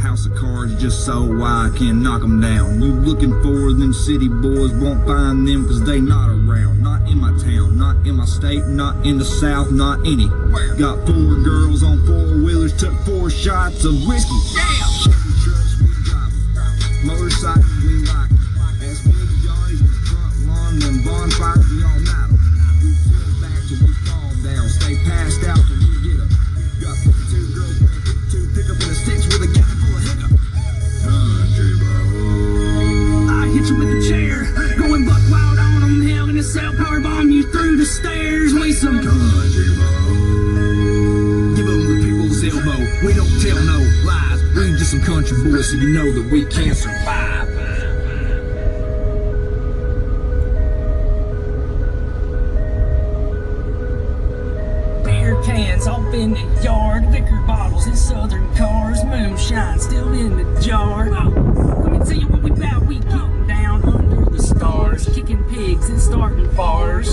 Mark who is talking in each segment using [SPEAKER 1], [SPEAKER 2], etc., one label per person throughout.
[SPEAKER 1] house of cards just so I can knock 'em down. You looking for them city boys, won't find them 'cause they not around. Not in my town, not in my state, not in the south, not anywhere. Got four girls on four wheelers, took four shots of whiskey. Damn! Trucks we drive, motorcycles we like. As big Johnny's on the front lawn, them bonfires we all night. We fell back till we fall down, stay passed out till we get up. Got 52 girls, 52 pickup and a sticks with a gallon full of hiccup. Country road.
[SPEAKER 2] I hit you with a chair, going buck wild on them. Hell in a cell, power bomb you through the stairs. We some
[SPEAKER 1] Country road. Give 'em the people's elbow. We don't tell no lies. We just some country boys, so you know that we can survive.
[SPEAKER 2] beer cans up in the yard, liquor bottles in southern cars, moonshine still in the jar. Whoa, Let me tell you what we bout. We getting down under the stars, kicking pigs and starting bars,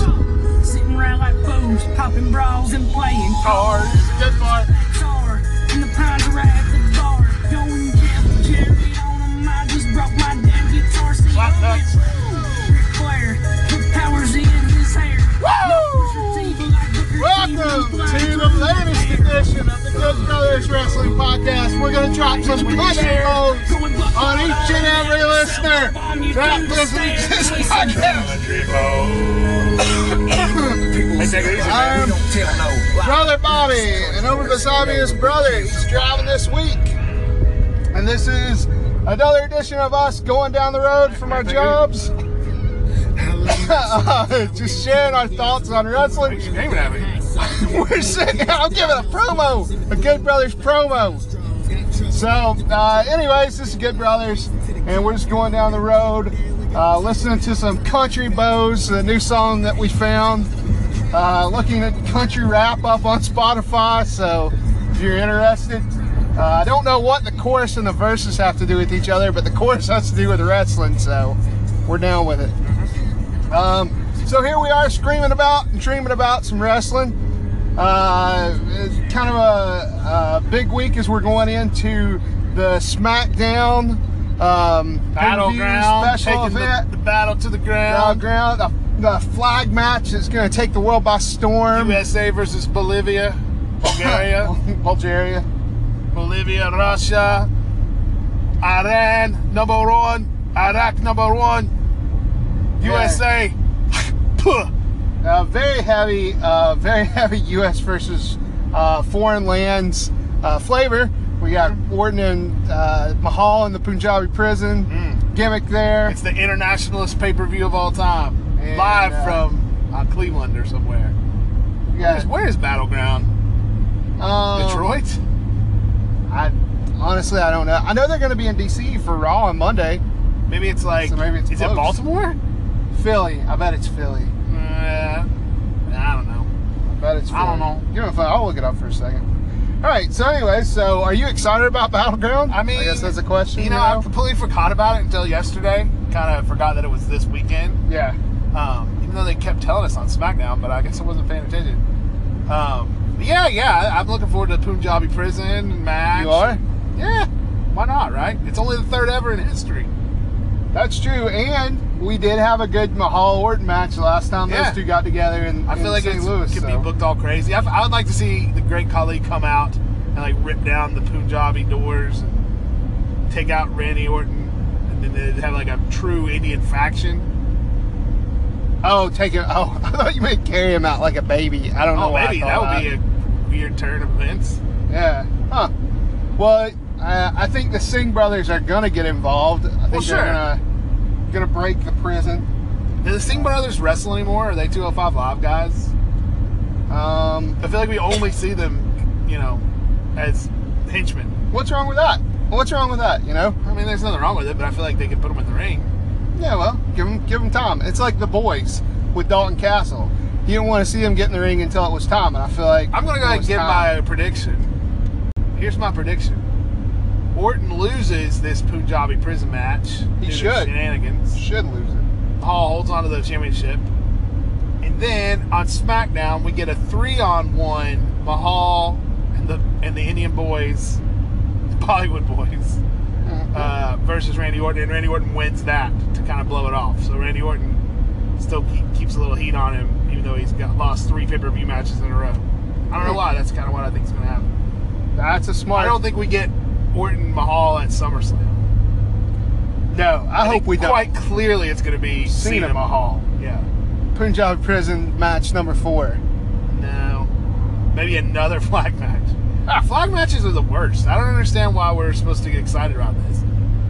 [SPEAKER 2] sitting around like fools, popping brawls and playing cards.
[SPEAKER 3] Good part.
[SPEAKER 2] Car and the pines are at the bar, going Jeff Jerry on 'em. I just brought my damn guitar. See,
[SPEAKER 3] Slap
[SPEAKER 2] I went,
[SPEAKER 3] nuts.
[SPEAKER 2] "Woo!" Ric Flair, the powers in his hair.
[SPEAKER 3] Welcome to the latest edition of the Good Brothers Wrestling Podcast. We're going to drop some country bones on each and every listener that listens to this podcast. I'm Brother Bobby, and over beside me is Brother. He's driving this week. And this is another edition of us going down the road from our jobs. Just sharing our thoughts on wrestling. We're sitting here. I'm giving a promo, a Good Brothers promo. So, uh, anyways, this is Good Brothers, and we're just going down the road, uh, listening to some country bows, the new song that we found. Uh, looking at country wrap up on Spotify. So, if you're interested, uh, I don't know what the chorus and the verses have to do with each other, but the chorus has to do with wrestling. So, we're down with it. Um, so here we are screaming about and dreaming about some wrestling. Uh, it's kind of a, a big week as we're going into the SmackDown um, pay-per-view
[SPEAKER 4] Battleground,
[SPEAKER 3] special
[SPEAKER 4] taking the,
[SPEAKER 3] event.
[SPEAKER 4] the battle to the ground.
[SPEAKER 3] ground, the, the flag match that's going to take the world by storm.
[SPEAKER 4] USA versus Bolivia, Bulgaria,
[SPEAKER 3] Bulgaria.
[SPEAKER 4] Bolivia, Russia, Iran, number one, Iraq, number one, USA. Puh.
[SPEAKER 3] Uh, very heavy, uh, very heavy U.S. versus uh, foreign lands uh, flavor. We got
[SPEAKER 4] Mm-hmm.
[SPEAKER 3] Orton and uh, Mahal in the Punjabi prison
[SPEAKER 4] Mm-hmm.
[SPEAKER 3] gimmick there.
[SPEAKER 4] It's the internationalist pay per view of all time.
[SPEAKER 3] And,
[SPEAKER 4] Live
[SPEAKER 3] uh,
[SPEAKER 4] from uh, Cleveland or somewhere.
[SPEAKER 3] We got,
[SPEAKER 4] Where is Battleground?
[SPEAKER 3] um,
[SPEAKER 4] Detroit?
[SPEAKER 3] I honestly I don't know. I know they're going to be in D.C. for Raw on Monday.
[SPEAKER 4] Maybe it's like.
[SPEAKER 3] So maybe it's
[SPEAKER 4] is
[SPEAKER 3] close.
[SPEAKER 4] it Baltimore?
[SPEAKER 3] Philly, I bet it's Philly.
[SPEAKER 4] Uh, I don't know.
[SPEAKER 3] I bet it's. Philly.
[SPEAKER 4] I don't know.
[SPEAKER 3] You know, if I- I'll look it up for a second. All right. So anyway, so are you excited about Battleground?
[SPEAKER 4] I mean,
[SPEAKER 3] I guess that's a question.
[SPEAKER 4] You know, I completely forgot about it until yesterday. Kind of forgot that it was this weekend.
[SPEAKER 3] yeah.
[SPEAKER 4] Um, even though they kept telling us on SmackDown, but I guess I wasn't paying attention. Um, but yeah, yeah, I'm looking forward to the Punjabi prison match.
[SPEAKER 3] You are.
[SPEAKER 4] Yeah. Why not? Right? It's only the third ever in history.
[SPEAKER 3] That's true, and we did have a good Mahal Orton match last time
[SPEAKER 4] Yeah.
[SPEAKER 3] those two got together in,
[SPEAKER 4] I
[SPEAKER 3] in
[SPEAKER 4] feel like
[SPEAKER 3] St.
[SPEAKER 4] it
[SPEAKER 3] Louis.
[SPEAKER 4] could
[SPEAKER 3] so.
[SPEAKER 4] be booked all crazy. I, I would like to see the Great Khali come out and like rip down the Punjabi doors and take out Randy Orton, and then they'd have like a true Indian faction.
[SPEAKER 3] Oh, take it. Oh, I thought you meant carry him out like a baby. I don't know.
[SPEAKER 4] Oh,
[SPEAKER 3] why I
[SPEAKER 4] maybe that
[SPEAKER 3] thought
[SPEAKER 4] would be a weird turn of events.
[SPEAKER 3] Yeah. Huh. Well, uh, I think the Singh brothers are gonna get involved. I think
[SPEAKER 4] Well, sure.
[SPEAKER 3] they're gonna gonna break the prison.
[SPEAKER 4] Do the Singh brothers wrestle anymore? Are they 205 Live guys?
[SPEAKER 3] Um,
[SPEAKER 4] I feel like we only see them, you know, as henchmen.
[SPEAKER 3] what's wrong with that? What's wrong with that? You know?
[SPEAKER 4] I mean, there's nothing wrong with it, but I feel like they could put them in the ring.
[SPEAKER 3] Yeah. Well, give him give him time. It's like the boys with Dalton Castle. You didn't want to see them get in the ring until it was time, and I feel like
[SPEAKER 4] I'm gonna go
[SPEAKER 3] it
[SPEAKER 4] ahead and
[SPEAKER 3] was
[SPEAKER 4] give
[SPEAKER 3] time.
[SPEAKER 4] my prediction. Here's my prediction: Orton loses this Punjabi prison match.
[SPEAKER 3] He
[SPEAKER 4] due to
[SPEAKER 3] should.
[SPEAKER 4] shenanigans.
[SPEAKER 3] should lose it.
[SPEAKER 4] Hall holds onto the championship, and then on SmackDown we get a three-on-one Mahal and the and the Indian boys Hollywood Boys uh, versus Randy Orton, and Randy Orton wins that to kind of blow it off. So Randy Orton still keep, keeps a little heat on him, even though he's got lost three pay per view matches in a row. I don't know why. That's kind of what I think is going to happen.
[SPEAKER 3] That's a smart.
[SPEAKER 4] I don't think we get Orton Mahal at SummerSlam.
[SPEAKER 3] No, I, hope
[SPEAKER 4] think
[SPEAKER 3] we don't.
[SPEAKER 4] Quite clearly, it's going to be
[SPEAKER 3] Cena.
[SPEAKER 4] Cena, Mahal. Yeah.
[SPEAKER 3] Punjab prison match number four.
[SPEAKER 4] No. Maybe another flag match. Ah, flag matches are the worst. I don't understand why we're supposed to get excited about this.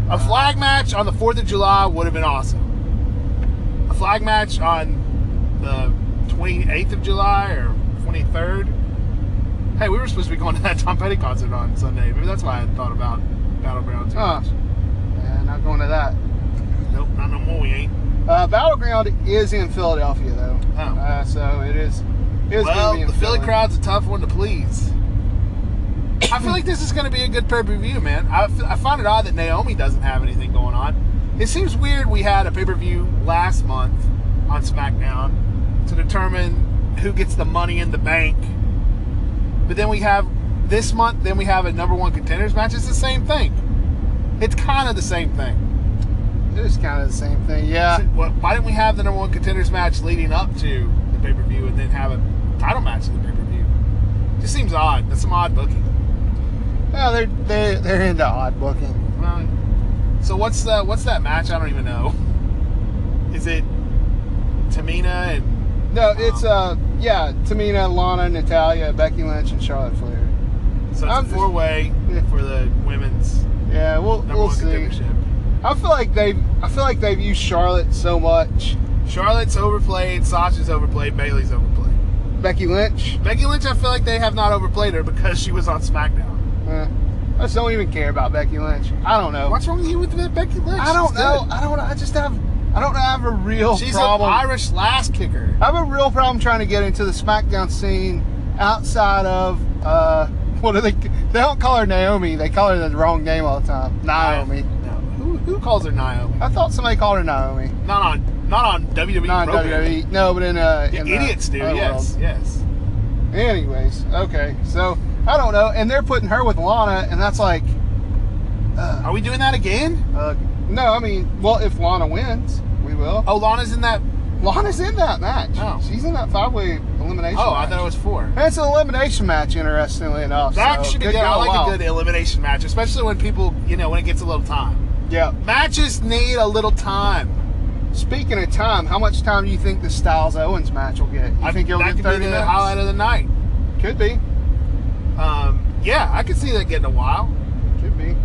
[SPEAKER 4] A flag match on the 4th of July would have been awesome. A flag match on the 28th of July or 23rd. Hey, we were supposed to be going to that Tom Petty concert on Sunday. Maybe that's why I thought about Battleground too
[SPEAKER 3] Huh.
[SPEAKER 4] much.
[SPEAKER 3] Yeah, not going to that.
[SPEAKER 4] Nope, not no more. We ain't.
[SPEAKER 3] Uh, Battleground is in Philadelphia though,
[SPEAKER 4] Oh.
[SPEAKER 3] uh, so it is. It is gonna
[SPEAKER 4] well,
[SPEAKER 3] be in
[SPEAKER 4] the Philly
[SPEAKER 3] Philly.
[SPEAKER 4] crowd's a tough one to please. I feel like this is going to be a good pay per view, man. I, f- I find it odd that Naomi doesn't have anything going on. It seems weird we had a pay per view last month on SmackDown to determine who gets the money in the bank. But then we have this month, then we have a number one contenders match. It's the same thing. It's kind of the same thing.
[SPEAKER 3] It is kind of the same thing. Yeah.
[SPEAKER 4] Why why didn't we have the number one contenders match leading up to the pay per view and then have a title match in the pay per view? Just seems odd. That's some odd booking.
[SPEAKER 3] No, they're they they're into odd booking.
[SPEAKER 4] Well, so what's the what's that match? I don't even know. Is it Tamina and
[SPEAKER 3] No, it's uh yeah, Tamina, Lana, Natalia, Becky Lynch, and Charlotte Flair.
[SPEAKER 4] so
[SPEAKER 3] I'm
[SPEAKER 4] it's
[SPEAKER 3] just-
[SPEAKER 4] four way
[SPEAKER 3] Yeah.
[SPEAKER 4] for the women's
[SPEAKER 3] Yeah, we'll
[SPEAKER 4] number
[SPEAKER 3] we'll
[SPEAKER 4] one
[SPEAKER 3] see.
[SPEAKER 4] contendership?
[SPEAKER 3] I feel like they I feel like they've used Charlotte so much.
[SPEAKER 4] Charlotte's overplayed, Sasha's overplayed, Bailey's overplayed.
[SPEAKER 3] Becky Lynch,
[SPEAKER 4] Becky Lynch, I feel like they have not overplayed her because she was on SmackDown.
[SPEAKER 3] eh, I just don't even care about Becky Lynch. I don't know.
[SPEAKER 4] What's wrong with you with Becky Lynch?
[SPEAKER 3] I don't
[SPEAKER 4] She's
[SPEAKER 3] know.
[SPEAKER 4] good.
[SPEAKER 3] I don't. I just have. I don't have a real
[SPEAKER 4] She's
[SPEAKER 3] problem.
[SPEAKER 4] an Irish last kicker.
[SPEAKER 3] I have a real problem trying to get into the SmackDown scene outside of uh, what do they? They don't call her Naomi. They call her the wrong name all the time. Naomi.
[SPEAKER 4] No. Who, who calls her Naomi?
[SPEAKER 3] I thought somebody called her Naomi.
[SPEAKER 4] Not on not on WWE.
[SPEAKER 3] Not in
[SPEAKER 4] programming.
[SPEAKER 3] WWE. No, but in uh,
[SPEAKER 4] The
[SPEAKER 3] in
[SPEAKER 4] idiots do.
[SPEAKER 3] other
[SPEAKER 4] Yes.
[SPEAKER 3] world.
[SPEAKER 4] Yes.
[SPEAKER 3] Anyways, okay. So I don't know, and they're putting her with Lana, and that's like,
[SPEAKER 4] Are we doing that again?
[SPEAKER 3] uh, no. I mean, well, if Lana wins, we will.
[SPEAKER 4] Oh, Lana's in that.
[SPEAKER 3] Lana's in that match.
[SPEAKER 4] Oh.
[SPEAKER 3] She's in that five-way elimination.
[SPEAKER 4] Oh, I
[SPEAKER 3] match.
[SPEAKER 4] thought it was four.
[SPEAKER 3] That's an elimination match, interestingly enough.
[SPEAKER 4] That
[SPEAKER 3] so
[SPEAKER 4] should be
[SPEAKER 3] good
[SPEAKER 4] good. I
[SPEAKER 3] God,
[SPEAKER 4] like
[SPEAKER 3] wow.
[SPEAKER 4] a good elimination match, especially when people, you know, when it gets a little time.
[SPEAKER 3] Yeah.
[SPEAKER 4] Matches need a little time.
[SPEAKER 3] Speaking of time, how much time do you think the Styles Owens match will get? You
[SPEAKER 4] I
[SPEAKER 3] think it'll get
[SPEAKER 4] that could be
[SPEAKER 3] 30
[SPEAKER 4] the
[SPEAKER 3] minutes?
[SPEAKER 4] highlight of the night.
[SPEAKER 3] Could be.
[SPEAKER 4] Um, yeah, I could see that getting a while.
[SPEAKER 3] Could be.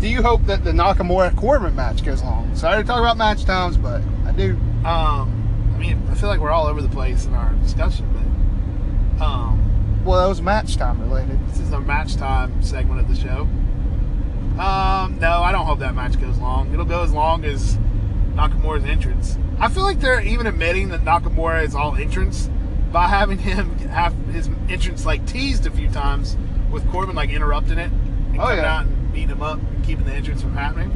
[SPEAKER 3] Do you hope that the Nakamura Corbin match goes long? Sorry to talk about match times, but I do.
[SPEAKER 4] Um, I mean, I feel like we're all over the place in our discussion, but um,
[SPEAKER 3] Well, that was match time related.
[SPEAKER 4] This is our match time segment of the show. Um, no, I don't hope that match goes long. It'll go as long as Nakamura's entrance. I feel like they're even admitting that Nakamura is all entrance by having him have his entrance like teased a few times with Corbin like interrupting it and
[SPEAKER 3] Oh,
[SPEAKER 4] coming
[SPEAKER 3] yeah.
[SPEAKER 4] out and beating him up and keeping the entrance from happening.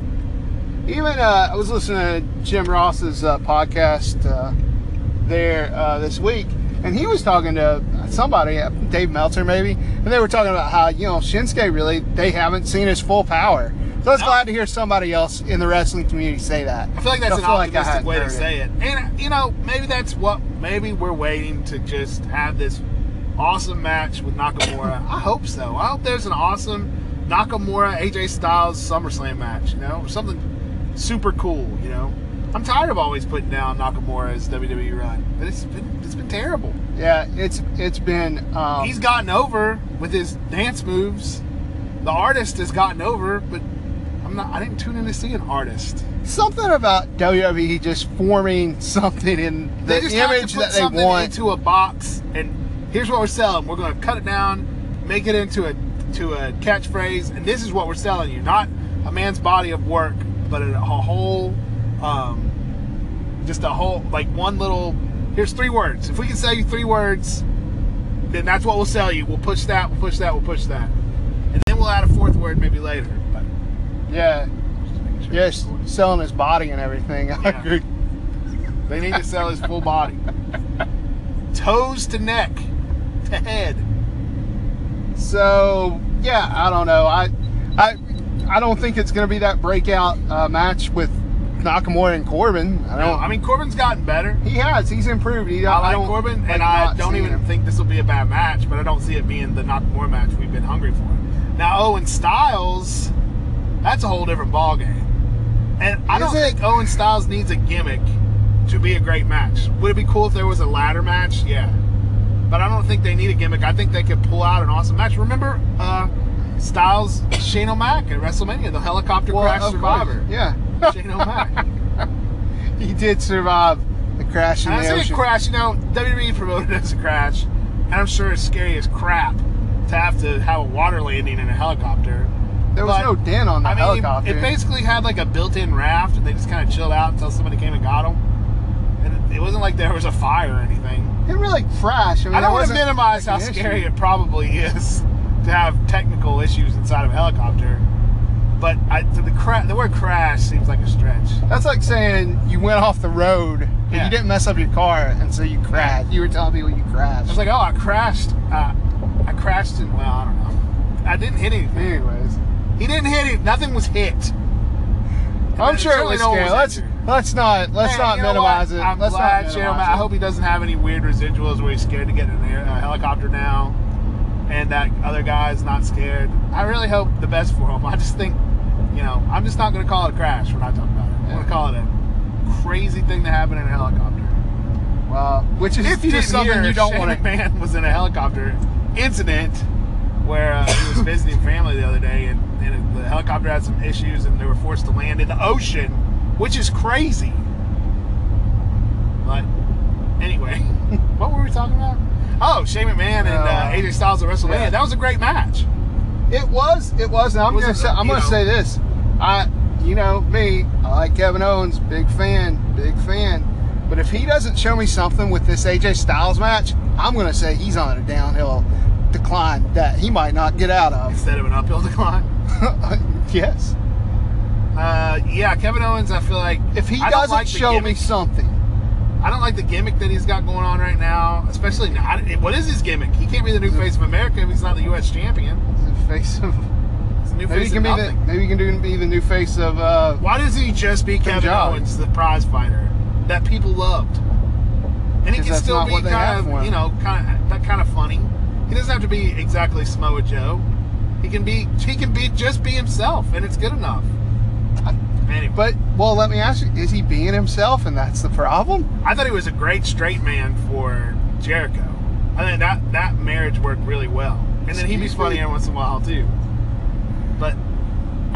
[SPEAKER 3] Even uh, I was listening to Jim Ross's uh, podcast uh, there uh, this week, and he was talking to somebody, uh, Dave Meltzer maybe, and they were talking about how you know Shinsuke really they haven't seen his full power. So I was
[SPEAKER 4] No.
[SPEAKER 3] glad to hear somebody else in the wrestling community say that.
[SPEAKER 4] Oh. I feel like that's
[SPEAKER 3] I
[SPEAKER 4] an
[SPEAKER 3] feel like I
[SPEAKER 4] optimistic
[SPEAKER 3] hadn't
[SPEAKER 4] way to
[SPEAKER 3] heard it.
[SPEAKER 4] say it. And uh, you know, maybe that's what maybe we're waiting to just have this awesome match with Nakamura. I hope so. I hope there's an awesome Nakamura AJ Styles SummerSlam match, you know, or something super cool, you know. I'm tired of always putting down Nakamura's WWE E run, but it's been it's been terrible.
[SPEAKER 3] Yeah, it's it's been um,
[SPEAKER 4] He's gotten over with his dance moves. The artist has gotten over, but I'm not. I didn't tune in to see an artist.
[SPEAKER 3] something about WWE just forming something in the
[SPEAKER 4] they just have
[SPEAKER 3] image
[SPEAKER 4] to put
[SPEAKER 3] that they
[SPEAKER 4] something
[SPEAKER 3] want.
[SPEAKER 4] into a box and here's what we're selling we're going to cut it down make it into a to a catchphrase and this is what we're selling you not a man's body of work but a, a whole um, just a whole like one little here's three words if we can sell you three words then that's what we'll sell you we'll push that we'll push that we'll push that and then we'll add a fourth word maybe later but
[SPEAKER 3] yeah,
[SPEAKER 4] just making sure.
[SPEAKER 3] yes, selling his body and everything. I
[SPEAKER 4] Yeah.
[SPEAKER 3] agree.
[SPEAKER 4] They need to sell his full body. Toes to neck, to head.
[SPEAKER 3] So yeah, I don't know. I, I I don't think it's going to be that breakout uh, match with Nakamura and Corbin. I
[SPEAKER 4] No,
[SPEAKER 3] don't.
[SPEAKER 4] I mean Corbin's gotten better.
[SPEAKER 3] he has. He's improved. He,
[SPEAKER 4] I like
[SPEAKER 3] don't,
[SPEAKER 4] Corbin,
[SPEAKER 3] like
[SPEAKER 4] and I
[SPEAKER 3] not
[SPEAKER 4] don't
[SPEAKER 3] seeing
[SPEAKER 4] even
[SPEAKER 3] him.
[SPEAKER 4] think this will be a bad match, but I don't see it being the Nakamura match we've been hungry for. Now Owen Styles, that's a whole different ballgame. And I
[SPEAKER 3] Is
[SPEAKER 4] don't
[SPEAKER 3] it?
[SPEAKER 4] think Owen Styles needs a gimmick to be a great match. Would it be cool if there was a ladder match? Yeah. But I don't think they need a gimmick. I think they could pull out an awesome match. Remember uh, Styles, Shane O'Mac at WrestleMania, the helicopter
[SPEAKER 3] Well,
[SPEAKER 4] crash
[SPEAKER 3] of
[SPEAKER 4] survivor.
[SPEAKER 3] course, Yeah,
[SPEAKER 4] Shane O'Mac.
[SPEAKER 3] he did survive the crash in
[SPEAKER 4] And I
[SPEAKER 3] the
[SPEAKER 4] say
[SPEAKER 3] ocean.
[SPEAKER 4] crash, you know, WWE promoted it as a crash, and I'm sure it's scary as crap to have to have a water landing in a helicopter.
[SPEAKER 3] There was
[SPEAKER 4] but-
[SPEAKER 3] no dent on the
[SPEAKER 4] I mean,
[SPEAKER 3] helicopter.
[SPEAKER 4] it basically had like a built-in raft, and they just kind of chilled out until somebody came and got them. And it, it wasn't like there was a fire or anything.
[SPEAKER 3] It really crashed. I, mean,
[SPEAKER 4] I
[SPEAKER 3] it
[SPEAKER 4] don't want to
[SPEAKER 3] wasn't
[SPEAKER 4] minimize how
[SPEAKER 3] like an issue.
[SPEAKER 4] scary it probably is to have technical issues inside of a helicopter, but I, to the cra- the word crash seems like a stretch.
[SPEAKER 3] That's like saying you went off the road, but
[SPEAKER 4] Yeah.
[SPEAKER 3] you didn't mess up your car, and so you crashed. You were telling people you crashed.
[SPEAKER 4] I was like, oh, I crashed. Uh, I crashed in, well, I don't know. I didn't hit anything.
[SPEAKER 3] anyways,
[SPEAKER 4] He didn't hit it. Nothing was hit.
[SPEAKER 3] I'm sure it
[SPEAKER 4] certainly
[SPEAKER 3] was
[SPEAKER 4] no one
[SPEAKER 3] scary.
[SPEAKER 4] was
[SPEAKER 3] Let's
[SPEAKER 4] injured.
[SPEAKER 3] let's not let's
[SPEAKER 4] Hey,
[SPEAKER 3] not
[SPEAKER 4] you know
[SPEAKER 3] minimize
[SPEAKER 4] what?
[SPEAKER 3] it.
[SPEAKER 4] I'm
[SPEAKER 3] let's
[SPEAKER 4] glad,
[SPEAKER 3] not
[SPEAKER 4] Shane O'Mac-
[SPEAKER 3] minimize
[SPEAKER 4] I
[SPEAKER 3] it.
[SPEAKER 4] hope he doesn't have any weird residuals where he's scared to get in an air, a helicopter now, and that other guy's not scared. I really hope the best for him. I just think, you know, I'm just not going to call it a crash when I talk about it. I'm going
[SPEAKER 3] Yeah.
[SPEAKER 4] to call it a crazy thing that happened in a helicopter.
[SPEAKER 3] Well, which is
[SPEAKER 4] If you
[SPEAKER 3] just
[SPEAKER 4] just
[SPEAKER 3] something you don't want
[SPEAKER 4] Shane
[SPEAKER 3] to.
[SPEAKER 4] Man was in a helicopter incident where uh, he was visiting family the other day, and, and the helicopter had some issues, and they were forced to land in the ocean, which is crazy. But anyway, what were we talking about? Oh, Shane McMahon and uh,
[SPEAKER 3] Uh,
[SPEAKER 4] AJ Styles at WrestleMania.
[SPEAKER 3] yeah.
[SPEAKER 4] That was a great match.
[SPEAKER 3] It was. It was. And I'm
[SPEAKER 4] Was
[SPEAKER 3] gonna
[SPEAKER 4] it,
[SPEAKER 3] say. I'm
[SPEAKER 4] you
[SPEAKER 3] gonna
[SPEAKER 4] know-
[SPEAKER 3] say this. I, you know me. I like Kevin Owens. Big fan. Big fan. But if he doesn't show me something with this AJ Styles match, I'm gonna say he's on a downhill decline that he might not get out of.
[SPEAKER 4] Instead of an uphill decline.
[SPEAKER 3] yes.
[SPEAKER 4] Uh, yeah, Kevin Owens. I feel like
[SPEAKER 3] If he
[SPEAKER 4] I don't
[SPEAKER 3] doesn't
[SPEAKER 4] like the
[SPEAKER 3] show me
[SPEAKER 4] gimmick.
[SPEAKER 3] something,
[SPEAKER 4] I don't like the gimmick that he's got going on right now, especially now. I- What is his gimmick? He can't be the new face of America if he's not the U.S. champion.
[SPEAKER 3] the face of
[SPEAKER 4] He's the new
[SPEAKER 3] maybe he
[SPEAKER 4] face of
[SPEAKER 3] can be the
[SPEAKER 4] nothing.
[SPEAKER 3] maybe he can do, be the new face of uh,
[SPEAKER 4] Why doesn't he just be Kevin
[SPEAKER 3] Jolly.
[SPEAKER 4] Owens, the prize fighter that people loved? And
[SPEAKER 3] 'Cause
[SPEAKER 4] he can
[SPEAKER 3] that's
[SPEAKER 4] still
[SPEAKER 3] not
[SPEAKER 4] be
[SPEAKER 3] what they have
[SPEAKER 4] kind
[SPEAKER 3] for
[SPEAKER 4] of,
[SPEAKER 3] him.
[SPEAKER 4] you know, kind of that kind of funny. He doesn't have to be exactly Samoa Joe. He can be, he can be just be himself, and it's good enough. Anyway.
[SPEAKER 3] But well, let me ask you: Is he being himself, and that's the problem?
[SPEAKER 4] I thought he was a great straight man for Jericho. I think that that marriage worked really well. And then he'd be
[SPEAKER 3] Excuse
[SPEAKER 4] funny
[SPEAKER 3] me?
[SPEAKER 4] every once in a while too. But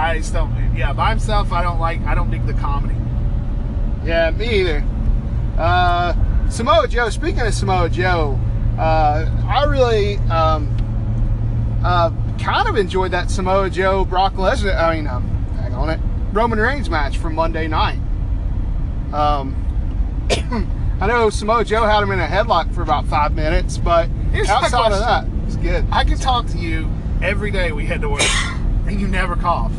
[SPEAKER 4] I just don't. Yeah, by himself, I don't like. I don't dig the comedy.
[SPEAKER 3] Yeah, me either. Uh, Samoa Joe. Speaking of Samoa Joe, uh, I really um, uh, kind of enjoyed that Samoa Joe Brock Lesnar. I mean, um, hang on it, Roman Reigns match from Monday night. Um, I know Samoa Joe had him in a headlock for about five minutes, but
[SPEAKER 4] Here's my
[SPEAKER 3] outside of
[SPEAKER 4] question.
[SPEAKER 3] that, it was good.
[SPEAKER 4] I could talk to you every day we head to work, and you never cough.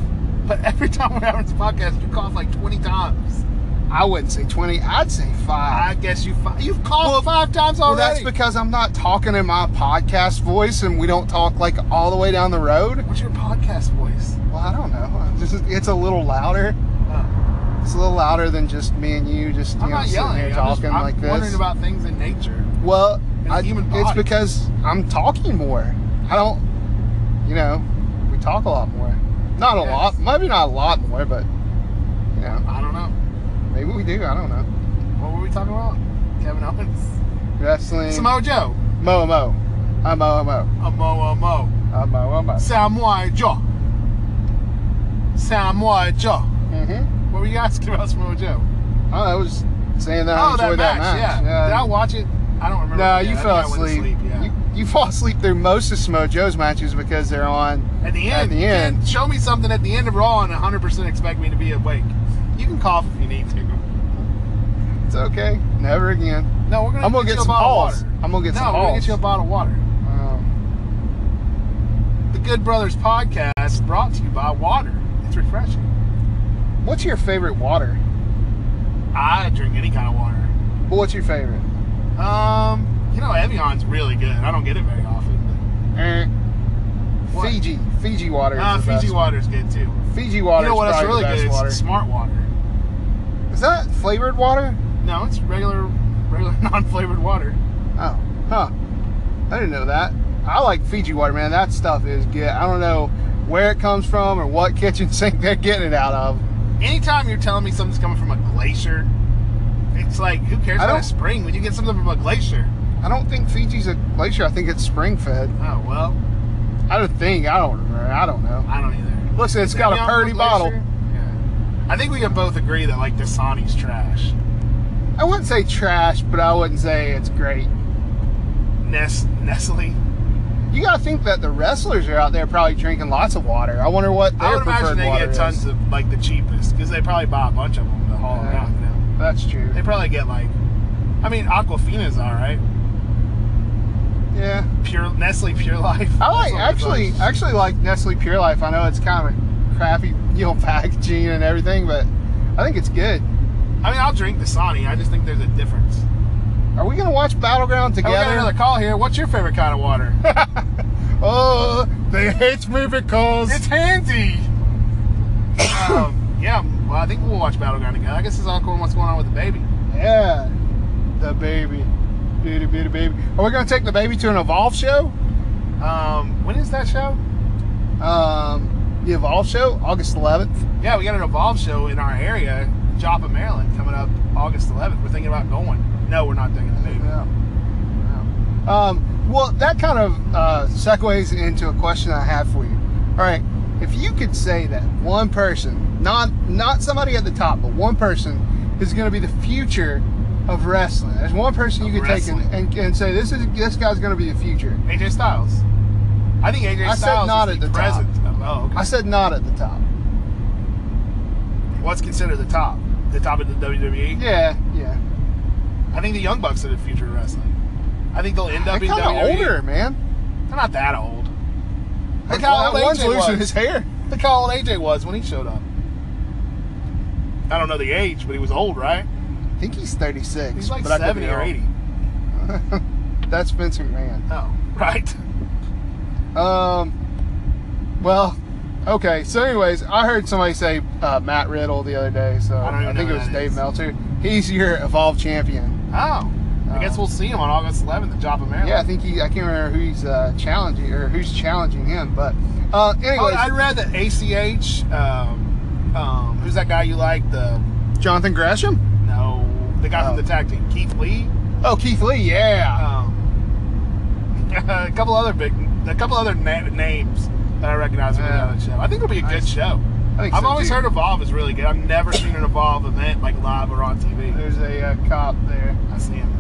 [SPEAKER 4] But every time we're having this podcast, you cough like twenty times.
[SPEAKER 3] I wouldn't say twenty. I'd say five.
[SPEAKER 4] I guess you fi- you've coughed
[SPEAKER 3] Well,
[SPEAKER 4] five times
[SPEAKER 3] Well, that's
[SPEAKER 4] already.
[SPEAKER 3] because I'm not talking in my podcast voice, and we don't talk like all the way down the road.
[SPEAKER 4] What's your podcast voice?
[SPEAKER 3] Well, I don't know. I'm just, it's a little louder.
[SPEAKER 4] Oh,
[SPEAKER 3] It's a little louder than just me and you, just you
[SPEAKER 4] I'm
[SPEAKER 3] know,
[SPEAKER 4] not
[SPEAKER 3] sitting
[SPEAKER 4] yelling.
[SPEAKER 3] here
[SPEAKER 4] I'm,
[SPEAKER 3] talking
[SPEAKER 4] just, I'm
[SPEAKER 3] like this.
[SPEAKER 4] wondering about things in nature.
[SPEAKER 3] well,
[SPEAKER 4] the
[SPEAKER 3] I,
[SPEAKER 4] human
[SPEAKER 3] it's
[SPEAKER 4] body.
[SPEAKER 3] because I'm talking more. I don't, you know, we talk a lot more. Not a
[SPEAKER 4] Yes.
[SPEAKER 3] lot, maybe not a lot more, but you know,
[SPEAKER 4] I don't know.
[SPEAKER 3] maybe we do. I don't know.
[SPEAKER 4] What were we talking about? Kevin Owens.
[SPEAKER 3] Wrestling.
[SPEAKER 4] Samoa Joe.
[SPEAKER 3] Mo mo. I'm mo mo.
[SPEAKER 4] A mo a mo.
[SPEAKER 3] I'm mo I'm mo.
[SPEAKER 4] Samoa Joe. Samoa Joe.
[SPEAKER 3] Mm-hmm.
[SPEAKER 4] What were you asking about Samoa Joe?
[SPEAKER 3] Oh, I was saying Uh, that I
[SPEAKER 4] oh, that
[SPEAKER 3] enjoyed
[SPEAKER 4] match. Yeah. Did I watch it? I don't remember.
[SPEAKER 3] No,
[SPEAKER 4] Yeah,
[SPEAKER 3] you
[SPEAKER 4] I think
[SPEAKER 3] fell
[SPEAKER 4] I went to
[SPEAKER 3] asleep.
[SPEAKER 4] yeah.
[SPEAKER 3] you, you fall asleep through most of Samoa Joe's matches because they're on.
[SPEAKER 4] at the end,
[SPEAKER 3] At the
[SPEAKER 4] you can't
[SPEAKER 3] end.
[SPEAKER 4] show me something at the end of Raw and 100% expect me to be awake. You can cough if you need to.
[SPEAKER 3] It's okay. Never again.
[SPEAKER 4] No, we're gonna.
[SPEAKER 3] I'm gonna get
[SPEAKER 4] you a
[SPEAKER 3] some
[SPEAKER 4] bottle of
[SPEAKER 3] balls.
[SPEAKER 4] water.
[SPEAKER 3] I'm gonna get
[SPEAKER 4] no,
[SPEAKER 3] some
[SPEAKER 4] we're gonna
[SPEAKER 3] balls.
[SPEAKER 4] get you a bottle of water.
[SPEAKER 3] Um,
[SPEAKER 4] The Good Brothers podcast brought to you by water. It's refreshing.
[SPEAKER 3] what's your favorite water?
[SPEAKER 4] I drink any kind of water.
[SPEAKER 3] Well, what's your favorite?
[SPEAKER 4] Um, you know, Evian's really good. I don't get it very often.
[SPEAKER 3] Eh.
[SPEAKER 4] But what?
[SPEAKER 3] Fiji. Fiji water. Is
[SPEAKER 4] Ah,
[SPEAKER 3] the
[SPEAKER 4] Fiji
[SPEAKER 3] best.
[SPEAKER 4] water's good too.
[SPEAKER 3] Fiji water.
[SPEAKER 4] you know
[SPEAKER 3] is
[SPEAKER 4] what else
[SPEAKER 3] probably
[SPEAKER 4] really
[SPEAKER 3] the best
[SPEAKER 4] good? It's
[SPEAKER 3] Water.
[SPEAKER 4] smart water.
[SPEAKER 3] Is that flavored water?
[SPEAKER 4] No, it's regular, regular non-flavored water.
[SPEAKER 3] Oh, huh. I didn't know that. I like Fiji water, man. That stuff is good. I don't know where it comes from or what kitchen sink they're getting it out of.
[SPEAKER 4] Anytime you're telling me something's coming from a glacier, it's like who cares
[SPEAKER 3] I
[SPEAKER 4] about
[SPEAKER 3] don't-
[SPEAKER 4] a spring when you get something from a glacier?
[SPEAKER 3] I don't think Fiji's a glacier. I think it's spring fed.
[SPEAKER 4] Oh well,
[SPEAKER 3] I don't think. I don't remember. I don't know.
[SPEAKER 4] I don't either.
[SPEAKER 3] Listen, it's got a
[SPEAKER 4] Yeah,
[SPEAKER 3] Purdy
[SPEAKER 4] glacier.
[SPEAKER 3] bottle.
[SPEAKER 4] Yeah. I think we can both agree that like Dasani's trash.
[SPEAKER 3] I wouldn't say trash, but I wouldn't say it's great.
[SPEAKER 4] Nest Nestle.
[SPEAKER 3] You gotta think that the wrestlers are out there probably drinking lots of water. I wonder what their
[SPEAKER 4] I would
[SPEAKER 3] preferred
[SPEAKER 4] imagine they
[SPEAKER 3] water
[SPEAKER 4] get tons
[SPEAKER 3] is.
[SPEAKER 4] of like the cheapest because they probably buy a bunch of them to haul them
[SPEAKER 3] Yeah.
[SPEAKER 4] out. You know?
[SPEAKER 3] That's true.
[SPEAKER 4] They probably get like, I mean, Aquafina's all right.
[SPEAKER 3] Yeah.
[SPEAKER 4] Pure Nestle Pure Life.
[SPEAKER 3] I like
[SPEAKER 4] That's all
[SPEAKER 3] actually
[SPEAKER 4] it's like.
[SPEAKER 3] actually like Nestle Pure Life. I know it's kind of crappy, you know, packaging and everything, but I think it's good.
[SPEAKER 4] I mean, I'll drink Dasani. I just think there's a difference.
[SPEAKER 3] Are we gonna watch Battleground
[SPEAKER 4] Hey, Oh, we got another
[SPEAKER 3] together?
[SPEAKER 4] call here. What's your favorite kind of water?
[SPEAKER 3] Oh, they hate me because
[SPEAKER 4] it's handy. um, yeah. Well, I think we'll watch Battleground together. I guess it's all cool. What's going on with the baby?
[SPEAKER 3] yeah, the baby, beauty, beauty, baby. Are we gonna take the baby to an Evolve show?
[SPEAKER 4] Um, when is that show?
[SPEAKER 3] Um, the Evolve show, August 11th.
[SPEAKER 4] Yeah, we got an Evolve show in our area, Joppa, Maryland, coming up August 11th. We're thinking about going. No, we're not thinking the baby.
[SPEAKER 3] Yeah. Um, well, that kind of uh, segues into a question I have for you. All right, if you could say that one person, not not somebody at the top, but one person is going to be the future of wrestling. There's one person you could
[SPEAKER 4] Of
[SPEAKER 3] take
[SPEAKER 4] wrestling.
[SPEAKER 3] and, and, and say this is this guy's going to be the future.
[SPEAKER 4] AJ Styles. I think AJ
[SPEAKER 3] I said
[SPEAKER 4] Styles
[SPEAKER 3] not
[SPEAKER 4] is
[SPEAKER 3] at
[SPEAKER 4] the,
[SPEAKER 3] the top.
[SPEAKER 4] present. of- Oh, okay.
[SPEAKER 3] I said not at the top.
[SPEAKER 4] What's considered the top? The top of the WWE?
[SPEAKER 3] Yeah, yeah.
[SPEAKER 4] I think the Young Bucks are the future of wrestling. I think they'll end
[SPEAKER 3] They're
[SPEAKER 4] up in
[SPEAKER 3] kind of
[SPEAKER 4] WWE.
[SPEAKER 3] older, man.
[SPEAKER 4] They're not that old. Look
[SPEAKER 3] Like
[SPEAKER 4] how old
[SPEAKER 3] one's
[SPEAKER 4] AJ
[SPEAKER 3] losing
[SPEAKER 4] was.
[SPEAKER 3] his hair.
[SPEAKER 4] Look how old AJ was when he showed up. I don't know the age, but he was old, right?
[SPEAKER 3] I think he's 36.
[SPEAKER 4] He's like
[SPEAKER 3] but I could
[SPEAKER 4] 70
[SPEAKER 3] be
[SPEAKER 4] or
[SPEAKER 3] wrong.
[SPEAKER 4] 80.
[SPEAKER 3] That's Vince McMahon.
[SPEAKER 4] Oh, right.
[SPEAKER 3] Um, well, okay. So, anyways, I heard somebody say uh, Matt Riddle the other day. So
[SPEAKER 4] I don't
[SPEAKER 3] I,
[SPEAKER 4] even
[SPEAKER 3] think
[SPEAKER 4] know
[SPEAKER 3] it
[SPEAKER 4] who
[SPEAKER 3] was
[SPEAKER 4] that
[SPEAKER 3] Dave
[SPEAKER 4] is.
[SPEAKER 3] Meltzer. He's your Evolve champion.
[SPEAKER 4] Oh. I guess we'll see him on August 11th at Joppa, Maryland.
[SPEAKER 3] Yeah, I think he. I can't remember who's uh, challenging or who's challenging him. But uh, anyways,
[SPEAKER 4] Oh, I read that ACH, um, um, who's that guy you like? The
[SPEAKER 3] Jonathan Gresham.
[SPEAKER 4] no, the guy
[SPEAKER 3] Oh.
[SPEAKER 4] from the tag team, Keith Lee.
[SPEAKER 3] Oh, Keith Lee. Yeah.
[SPEAKER 4] Um, a couple other big, a couple other na- names that I recognize from
[SPEAKER 3] Yeah.
[SPEAKER 4] another show. I think it'll be a
[SPEAKER 3] Nice.
[SPEAKER 4] good show.
[SPEAKER 3] I think
[SPEAKER 4] I've
[SPEAKER 3] so,
[SPEAKER 4] always
[SPEAKER 3] too.
[SPEAKER 4] heard Evolve is really good. I've never seen an Evolve event like live or on TV.
[SPEAKER 3] There's a uh, cop there.
[SPEAKER 4] I see him.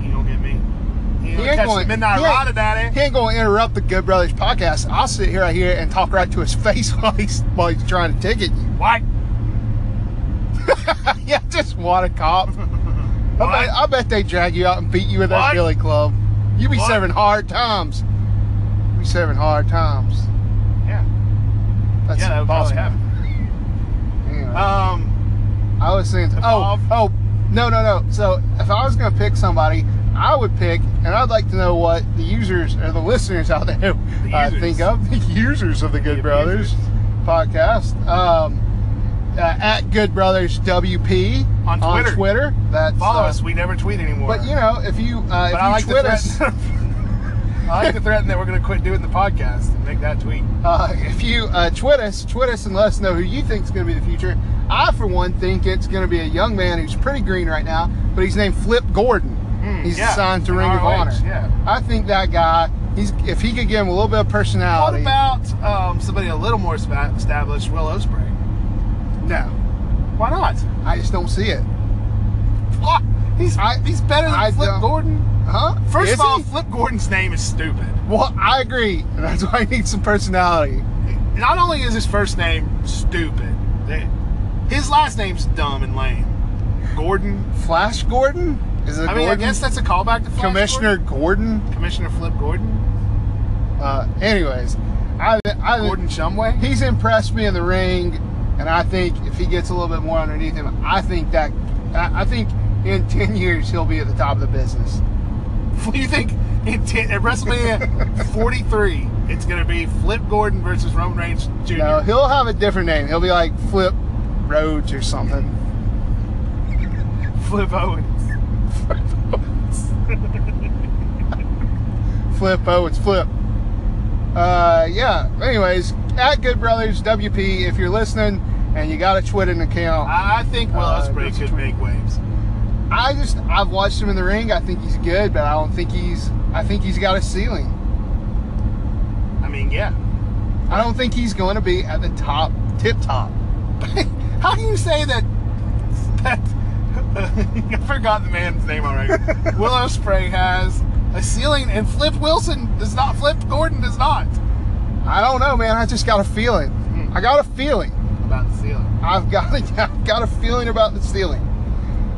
[SPEAKER 4] He don't get me. He don't
[SPEAKER 3] ain't
[SPEAKER 4] catch
[SPEAKER 3] going-
[SPEAKER 4] the midnight
[SPEAKER 3] he ain't-
[SPEAKER 4] rod
[SPEAKER 3] He
[SPEAKER 4] of daddy.
[SPEAKER 3] ain't gonna interrupt the Good Brothers podcast. I'll sit here right here and talk right to his face while he's while he's trying to ticket you.
[SPEAKER 4] White.
[SPEAKER 3] yeah, just want a cop. I bet, I bet they drag you out and beat you in that
[SPEAKER 4] What?
[SPEAKER 3] billy club. You be
[SPEAKER 4] What?
[SPEAKER 3] serving hard times. You be serving hard times.
[SPEAKER 4] Yeah.
[SPEAKER 3] That's
[SPEAKER 4] Yeah, that would
[SPEAKER 3] boss
[SPEAKER 4] probably
[SPEAKER 3] man.
[SPEAKER 4] happen.
[SPEAKER 3] Anyway,
[SPEAKER 4] Um,
[SPEAKER 3] I was saying, oh,
[SPEAKER 4] Evolve.
[SPEAKER 3] oh, no, no, no. So if I was gonna pick somebody, I would pick, and I'd like to know what the users or the listeners out there
[SPEAKER 4] The
[SPEAKER 3] uh,
[SPEAKER 4] users.
[SPEAKER 3] think of the users of the Good
[SPEAKER 4] The
[SPEAKER 3] Brothers
[SPEAKER 4] abusers.
[SPEAKER 3] podcast. Um, uh, at Good Brothers WP
[SPEAKER 4] On Twitter.
[SPEAKER 3] That's
[SPEAKER 4] follow
[SPEAKER 3] uh,
[SPEAKER 4] us. We never tweet anymore.
[SPEAKER 3] But you know, if you uh, if
[SPEAKER 4] But
[SPEAKER 3] you
[SPEAKER 4] I like
[SPEAKER 3] tweet
[SPEAKER 4] to
[SPEAKER 3] us.
[SPEAKER 4] threaten. I like to threaten that we're going to quit doing the podcast and make that tweet.
[SPEAKER 3] Uh, if you uh, tweet us, tweet us and let us know who you think is going to be the future. I, for one, think it's going to be a young man who's pretty green right now, but he's named Flip Gordon.
[SPEAKER 4] Mm,
[SPEAKER 3] he's
[SPEAKER 4] yeah,
[SPEAKER 3] assigned to
[SPEAKER 4] in
[SPEAKER 3] Ring of
[SPEAKER 4] ROH,
[SPEAKER 3] Honor.
[SPEAKER 4] yeah.
[SPEAKER 3] I think that guy, he's if he could give him a little bit of
[SPEAKER 4] What
[SPEAKER 3] personality.
[SPEAKER 4] about um, somebody a little more spa- established, Will Ospreay?
[SPEAKER 3] no,
[SPEAKER 4] Why not?
[SPEAKER 3] I just don't see it.
[SPEAKER 4] What? He's
[SPEAKER 3] I-
[SPEAKER 4] he's better than
[SPEAKER 3] I
[SPEAKER 4] Flip
[SPEAKER 3] don't-
[SPEAKER 4] Gordon.
[SPEAKER 3] Huh?
[SPEAKER 4] First
[SPEAKER 3] Is
[SPEAKER 4] of all,
[SPEAKER 3] he?
[SPEAKER 4] Flip Gordon's name is stupid.
[SPEAKER 3] well, I agree. and That's why he needs some personality.
[SPEAKER 4] Not only is his first name stupid, eh, his last name's dumb and lame. Gordon.
[SPEAKER 3] Flash Gordon is it?
[SPEAKER 4] I mean, I
[SPEAKER 3] Gordon?
[SPEAKER 4] guess that's a callback to Flash
[SPEAKER 3] Commissioner
[SPEAKER 4] Gordon.
[SPEAKER 3] Gordon.
[SPEAKER 4] Commissioner Flip Gordon.
[SPEAKER 3] Uh, anyways, I, I
[SPEAKER 4] Gordon Shumway.
[SPEAKER 3] he's impressed me in the ring, and I think if he gets a little bit more underneath him, I think that I I think in ten years he'll be at the top of the business.
[SPEAKER 4] You think in ten, at WrestleMania 43, it's going to be Flip Gordon versus Roman Reigns Jr.
[SPEAKER 3] No, he'll have a different name. He'll be like Flip Rhodes or something.
[SPEAKER 4] Flip Owens.
[SPEAKER 3] Flip oh, it's Flip. Uh, yeah. Anyways, at Good Brothers WP, if you're listening and you got a Twitter account,
[SPEAKER 4] I think Will
[SPEAKER 3] Uh,
[SPEAKER 4] Ospreay
[SPEAKER 3] that's
[SPEAKER 4] could make waves.
[SPEAKER 3] I just I've watched him in the ring. I think he's good, but I don't think he's I think he's got a ceiling.
[SPEAKER 4] I mean, yeah.
[SPEAKER 3] I don't think he's going to be at the top, tip top.
[SPEAKER 4] How can you say that? That I forgot the man's name already. Willow Spray has a ceiling, and Flip Wilson does not. Flip Gordon does not.
[SPEAKER 3] I don't know, man. I just got a feeling. I got a feeling.
[SPEAKER 4] About the ceiling.
[SPEAKER 3] I've got a, I've got a feeling about the ceiling.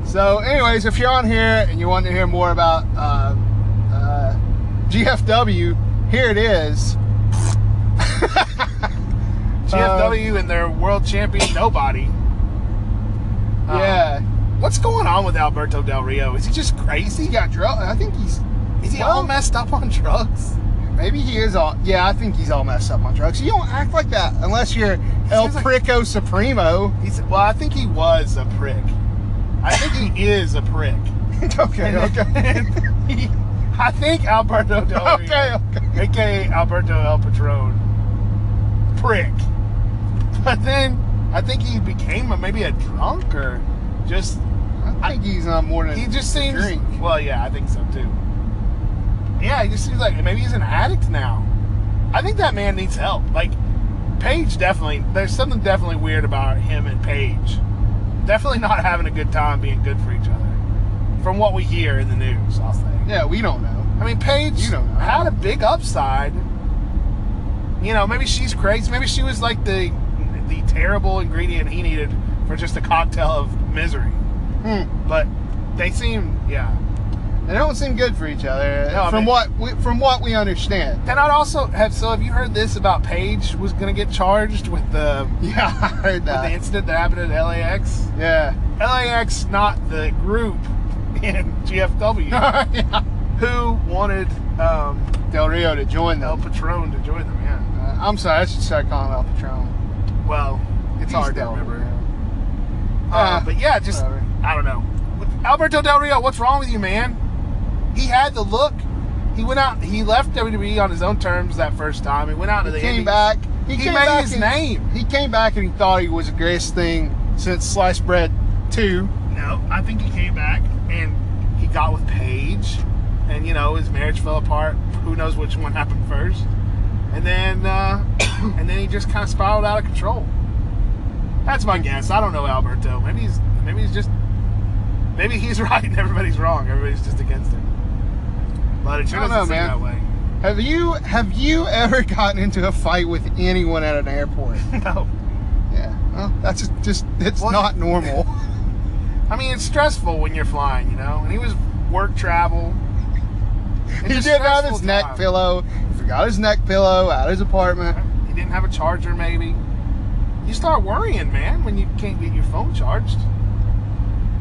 [SPEAKER 3] So, anyways, if you're on here and you want to hear more about uh, uh, GFW, here it is. Uh,
[SPEAKER 4] GFW and their world champion nobody. Um,
[SPEAKER 3] yeah,
[SPEAKER 4] What's going on with Alberto Del Rio? Is he just crazy?
[SPEAKER 3] he got drugs. I think he's
[SPEAKER 4] Is he all
[SPEAKER 3] Well-
[SPEAKER 4] messed up on drugs?
[SPEAKER 3] maybe he is all. Yeah, I think he's all messed up on drugs. You don't act like that unless you're El
[SPEAKER 4] Seems like-
[SPEAKER 3] Prico Supremo.
[SPEAKER 4] He's well. I think he was a prick. I think he is a prick.
[SPEAKER 3] okay, okay,
[SPEAKER 4] He- I think Alberto Del Rio.
[SPEAKER 3] okay, okay.
[SPEAKER 4] aka Alberto El Patron, prick. But then I think he became a, maybe a drunk or just
[SPEAKER 3] I think he's on more than
[SPEAKER 4] he just seems.
[SPEAKER 3] drink.
[SPEAKER 4] Well, yeah, I think so too. Yeah, he just seems like maybe he's an addict now. I think that man needs help. Like Paige, definitely. There's something definitely weird about him and Paige. Definitely not having a good time being good for each other. From what we hear in the news, I'll say.
[SPEAKER 3] Yeah, we don't know.
[SPEAKER 4] I mean, Paige
[SPEAKER 3] You don't know.
[SPEAKER 4] had a big upside. You know, maybe she's crazy. Maybe she was like the the terrible ingredient he needed for just a cocktail of misery.
[SPEAKER 3] Hmm.
[SPEAKER 4] But they seem, yeah.
[SPEAKER 3] They don't seem good for each other,
[SPEAKER 4] No, I
[SPEAKER 3] from
[SPEAKER 4] mean-
[SPEAKER 3] what we, from what we understand.
[SPEAKER 4] And I'd also have. So, have you heard this about Paige was going to get charged with the
[SPEAKER 3] Yeah, I heard
[SPEAKER 4] with the
[SPEAKER 3] that.
[SPEAKER 4] incident that happened at LAX?
[SPEAKER 3] Yeah,
[SPEAKER 4] LAX, not the group in GFW,
[SPEAKER 3] yeah.
[SPEAKER 4] who wanted um,
[SPEAKER 3] Del Rio to join
[SPEAKER 4] El
[SPEAKER 3] them.
[SPEAKER 4] Patron to join them. Yeah.
[SPEAKER 3] Uh, I'm sorry, I should start calling El Patron.
[SPEAKER 4] Well,
[SPEAKER 3] He's
[SPEAKER 4] it's hard to
[SPEAKER 3] Del
[SPEAKER 4] remember.
[SPEAKER 3] Rio.
[SPEAKER 4] Uh, but yeah, just
[SPEAKER 3] whatever.
[SPEAKER 4] I don't know. Alberto Del Rio, what's wrong with you, man? He had the look. He went out. He left WWE on his own terms that first time. He went out to the
[SPEAKER 3] He came
[SPEAKER 4] Indies.
[SPEAKER 3] back.
[SPEAKER 4] He,
[SPEAKER 3] came
[SPEAKER 4] made
[SPEAKER 3] back
[SPEAKER 4] his
[SPEAKER 3] and-
[SPEAKER 4] name.
[SPEAKER 3] He came back and he thought he was the greatest thing since sliced bread two.
[SPEAKER 4] No, I think he came back and he got with Paige, and you know his marriage fell apart. Who knows which one happened first? And then, uh, and then he just kind of spiraled out of control. That's my guess. I don't know Alberto. Maybe he's maybe he's just maybe he's right and everybody's wrong. Everybody's just against him. But it sure
[SPEAKER 3] I don't
[SPEAKER 4] doesn't seem
[SPEAKER 3] know, man.
[SPEAKER 4] that way.
[SPEAKER 3] Have you have you ever gotten into a fight with anyone at an airport?
[SPEAKER 4] No.
[SPEAKER 3] yeah, well, that's just, just it's
[SPEAKER 4] What?
[SPEAKER 3] not normal.
[SPEAKER 4] I mean, it's stressful when you're flying, you know. And he was work travel. It's
[SPEAKER 3] he
[SPEAKER 4] a
[SPEAKER 3] did have
[SPEAKER 4] stressful
[SPEAKER 3] his neck
[SPEAKER 4] time.
[SPEAKER 3] pillow. He forgot his neck pillow at his apartment.
[SPEAKER 4] He didn't have a charger, maybe. You start worrying, man, when you can't get your phone charged.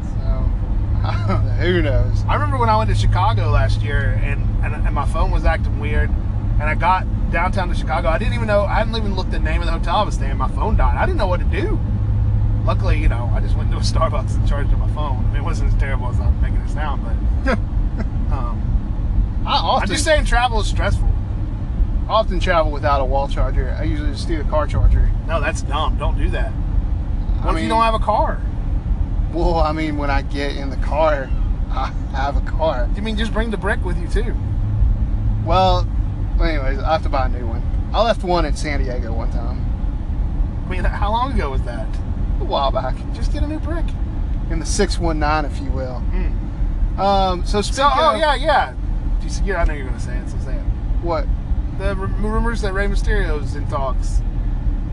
[SPEAKER 3] So, I don't know, who knows?
[SPEAKER 4] I remember when I went to Chicago last year and, and, and my phone was acting weird. And I got downtown to Chicago. I didn't even know, I hadn't even looked the name of the hotel I was staying. My phone died. I didn't know what to do. Luckily, you know, I just went to a Starbucks and charged up my phone. I mean, it wasn't as terrible as I'm making it sound, but. um,
[SPEAKER 3] I often
[SPEAKER 4] I'm just saying travel is stressful.
[SPEAKER 3] often travel without a wall charger. I usually just do a car charger.
[SPEAKER 4] No, that's dumb. Don't do that. What
[SPEAKER 3] I
[SPEAKER 4] if you don't have a car?
[SPEAKER 3] Well, I mean, when I get in the car, I have a car.
[SPEAKER 4] You mean just bring the brick with you, too?
[SPEAKER 3] Well, anyways, I have to buy a new one. I left one in San Diego one time,
[SPEAKER 4] I mean, how long ago was that?
[SPEAKER 3] a while back,
[SPEAKER 4] Just get a new brick.
[SPEAKER 3] in the six one nine, if you will. Um, so
[SPEAKER 4] So,
[SPEAKER 3] speaking
[SPEAKER 4] oh
[SPEAKER 3] of-
[SPEAKER 4] yeah, yeah. You see, yeah, I know you're gonna say it, so say it.
[SPEAKER 3] what?
[SPEAKER 4] The ru- rumors that Rey Mysterio's in talks